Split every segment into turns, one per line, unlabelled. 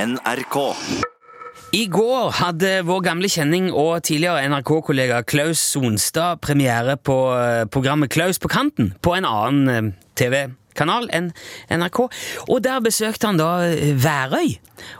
NRK.
I går hadde vår gamle kjenning og tidligere NRK-kollega Klaus Sonstad premiere på eh, programmet Klaus på kanten på en annen eh, TV-kanal enn NRK. Og der besøkte han da eh, Værøy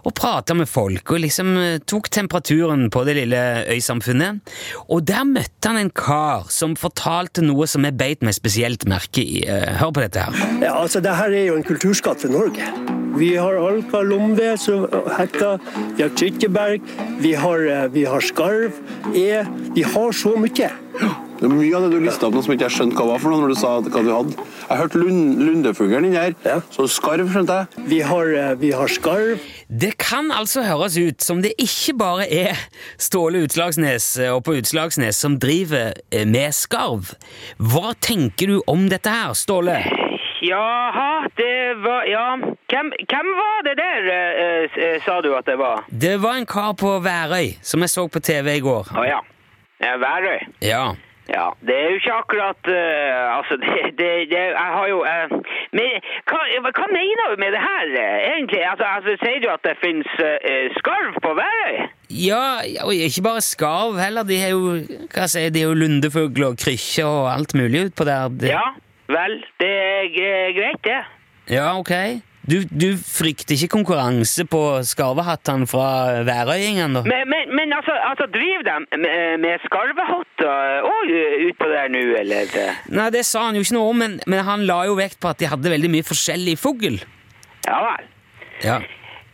og prata med folk og liksom eh, tok temperaturen på det lille øysamfunnet. Og der møtte han en kar som fortalte noe som jeg beit meg spesielt merke i. Eh, Hør på dette her.
Ja, altså det her er jo en kulturskatt for Norge. Vi har Alka, Lomve, som- Hekka, vi har Kirkeberg, vi har, eh, vi har Skarv, E. Vi har så mye.
Det er mye av det du lista opp nå som ikke jeg skjønte hva var for noe. når du sa hva du hadde. Jeg hørte lund, lundefuglen inni her.
Ja.
Så skarv, skjønte jeg.
Vi har, eh, vi har Skarv.
Det kan altså høres ut som det ikke bare er Ståle Utslagsnes og på Utslagsnes som driver eh, med skarv. Hva tenker du om dette her, Ståle?
Jaha, det var Ja. Hvem, hvem var det der, eh, eh, s- sa du at det var?
Det var en kar på Værøy som jeg så på TV i går.
Å ja. Eh, Værøy.
Ja,
Ja, det er jo ikke akkurat eh, Altså, det, det, det Jeg har jo eh, Men hva, hva mener du med det her, eh, egentlig? Altså, altså Sier du at det finnes eh, eh, skarv på Værøy?
ja og ikke bare skarv heller. De er jo, hva sier, jeg, de er jo lundefugler og krykker og alt mulig utpå der. Det-
Ja. Vel, det er gre- greit, det.
ja, ok. Du, du frykter ikke konkurranse på skarvehattene fra værøyingene, da?
Men, men, men altså, altså driver de med, med skarvehotter òg utpå der nå, eller? eh,
Nei, det sa han jo ikke noe om, men, men han la jo vekt på at de hadde veldig mye forskjellig fugl.
Ja vel.
Ja.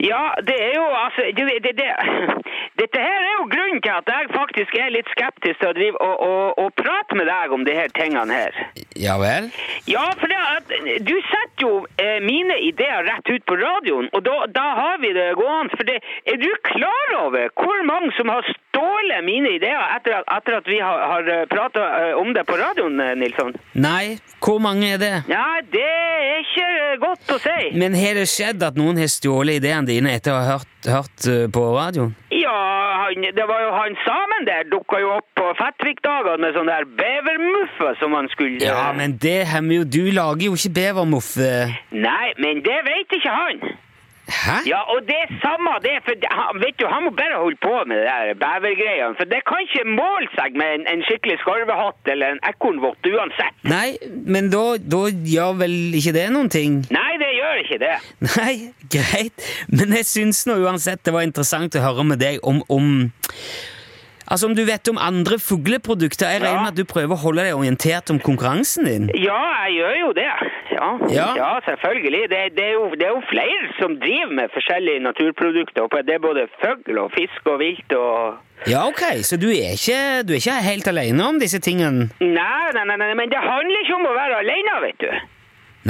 Ja, det er jo altså du, vet, det, det, Dette her er jo grunnen til at jeg faktisk er litt skeptisk til å drive og, og, og prate med deg om de her tingene her.
ja vel?
Ja, for det at, du setter jo eh, mine ideer rett ut på radioen, og da, da har vi det gående. For det, er du klar over hvor mange som har stålet mine ideer etter at, etter at vi har, har prata om det på radioen, eh, Nilsson?
Nei, hvor mange er det?
Nei, det er ikke eh, godt å si.
Men har det skjedd at noen har stjålet ideene dine etter å ha hørt, hørt eh, på radioen?
Ja, han, det var jo han samen der dukka jo opp på Fettvik-dagene med sånn der bevermuffe som han skulle
Ja, men det hemmer jo Du lager jo ikke bevermoffe.
Nei, men det veit ikke han.
Hæ?
Ja, og det er samme det, for det- han, vet du, han må bare holde på med det der bevergreiene. For det kan ikke måle seg med en, en skikkelig skarvehatt eller en ekornvott uansett.
Nei, men da, da gjør vel ikke det noen ting?
Nei, det gjør ikke det.
Nei, greit. Men jeg syns nå uansett det var interessant å høre med deg om, om Altså om du vet om andre fugleprodukter. Jeg regner
Ja.
med at du prøver å holde deg orientert om konkurransen din?
Ja, jeg gjør jo det. Ja,
Ja.
selvfølgelig. Det, det, er jo, det er jo flere som driver med forskjellige naturprodukter. og Det er både fugl og fisk og vilt og
Ja, ok, så du er ikke, du er ikke helt alene om disse tingene?
Nei, nei, nei, nei, men det handler ikke om å være alene, vet du.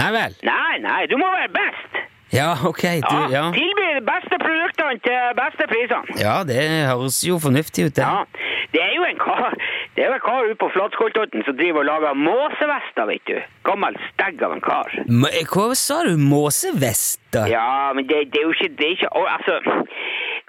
Nei vel?
Nei, nei, du må være best.
Ja, ok, du, ja.
Tilby de beste produktene til beste prisene.
Ja, det høres jo fornuftig ut, det.
Ja, det er jo en kar, det er jo en kar ute på Flatskoltotn som driver og lager måsevester, vet du. Gammel stegg av en kar.
M- Hva sa du? Måsevester?
Ja, men det, det er jo ikke, det er ikke, å, altså,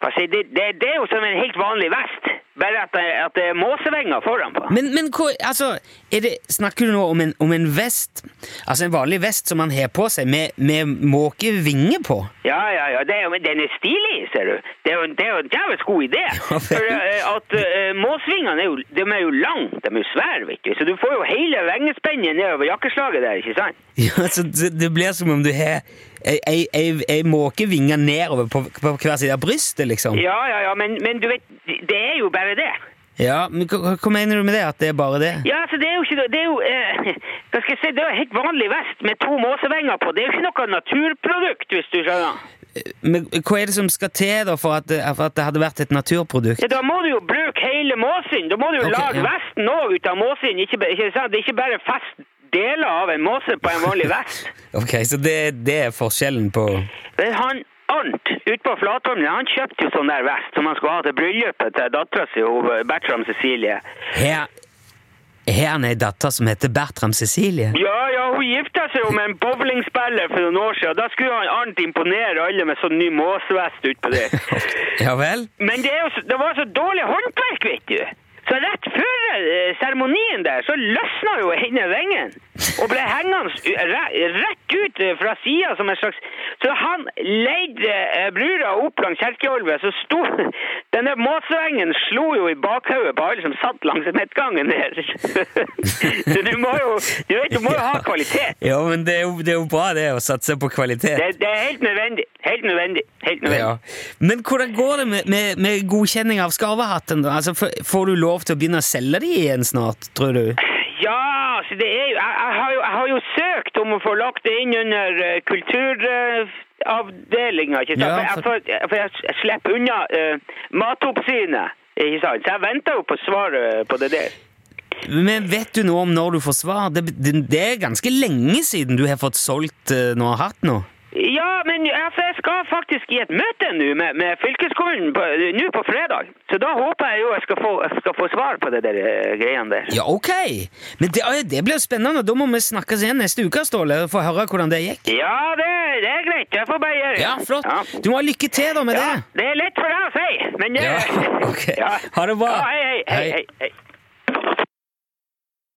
hva sier jeg, det, det, det er jo som en helt vanlig vest, bare at det, at det er måsevenger foran på.
Men, men hva, altså, er det, snakker du nå om en, om en vest? Altså en vanlig vest som man har på seg, med, med måkevinger på?
Ja, ja, ja, det er, jo- men den er stilig, ser du. Det er jo, det er jo en jævlig god idé.
Ja, vel.
For eh, at eh, måsvingene er jo, de er jo lange, de er jo svære, vet du, så du får jo hele vengespennet nedover jakkeslaget der, ikke sant?
Ja, så det, det blir som om du har ei, ei, ei, ei måkevinge nedover på, på hver side av brystet, liksom.
Ja, ja, ja, men, men du vet, det er jo bare det.
Ja, men hva, hva mener du med det? At det er bare det?
Ja, altså, det er jo ikke, noe- det er jo, eh, hva skal jeg si, det er jo en helt vanlig vest med to måsevenger på. Det er jo ikke noe naturprodukt, hvis du skjønner.
Men hva er det som skal til da for at, det- for at det hadde vært et naturprodukt?
Ja, da må du jo bruke hele måsen. Da må du jo
Ok,
lage
ja.
vesten òg ut av måsen. Ikke, ba- ikke sant? Det er ikke bare fest deler av en måse på en vanlig vest.
Ok, så det, det er forskjellen på
Men Eh, han Arnt ute på Flatholmen, han kjøpte jo sånn der vest som han skulle ha til bryllupet til dattera si, eh, Bertram Cecilie.
Her, her er ei datter som heter Bertram Cecilie.
Ja, ja, hun gifta seg jo med en bowlingspiller for noen år siden. Da skulle han Arnt imponere alle med sånn ny måsevest utpå der.
Ja vel?
Men det, er jo, så- det var så dårlig håndverk, vet du. Så rett før eh, seremonien der, så løsna jo ene ringen. og ble hengende u- re- rett ut eh, fra sida som en slags Så han leide eh, brura opp langs Kjerkeholvet, så sto Denne måsvengen slo jo i bakhodet på alle som satt langs midtgangen der. så du må jo Du vet, du må jo ha kvalitet.
Ja, men det er, jo, det er jo bra det å satse på kvalitet.
Det, det er helt nødvendig. Helt nødvendig. Helt nødvendig.
Ja. Men hvordan går det med, med, med godkjenning av skarvehatten? da? Altså, får- får du lov til å begynne å selge de igjen snart, tror du?
Ja, så det er jo jeg, jeg, har jo jeg har jo søkt om å få lagt det inn under kulturavdelinga, ikke
Ja,
sant? for... Jeg,
for-
får, jeg- for jeg s- slipper unna eh, Matoppsynet, ikke sant? Så jeg venter jo på svaret på det der.
Men vet du noe om når du får svar? Det, det, det er ganske lenge siden du har fått solgt eh, noe hatt nå.
Ja, men altså, jeg skal faktisk i et møte nå med, med fylkeskommunen på- nå på fredag. Så da håper jeg jo jeg skal få, jeg skal få svar på det der eh, greiene der.
Ja, ok! Men det, oi, det blir jo spennende. Da må vi snakkes igjen neste uke, Ståle, for å høre hvordan det gikk.
Ja, det, det er greit. Jeg får bare gjøre det.
Ja, flott. Du må ha lykke til da med
Ja,
det.
det er lett for deg å si, men eh,
Ja, ok. Ha det bra.
Ja, hei, hei, hei,
Hei.
hei, hei.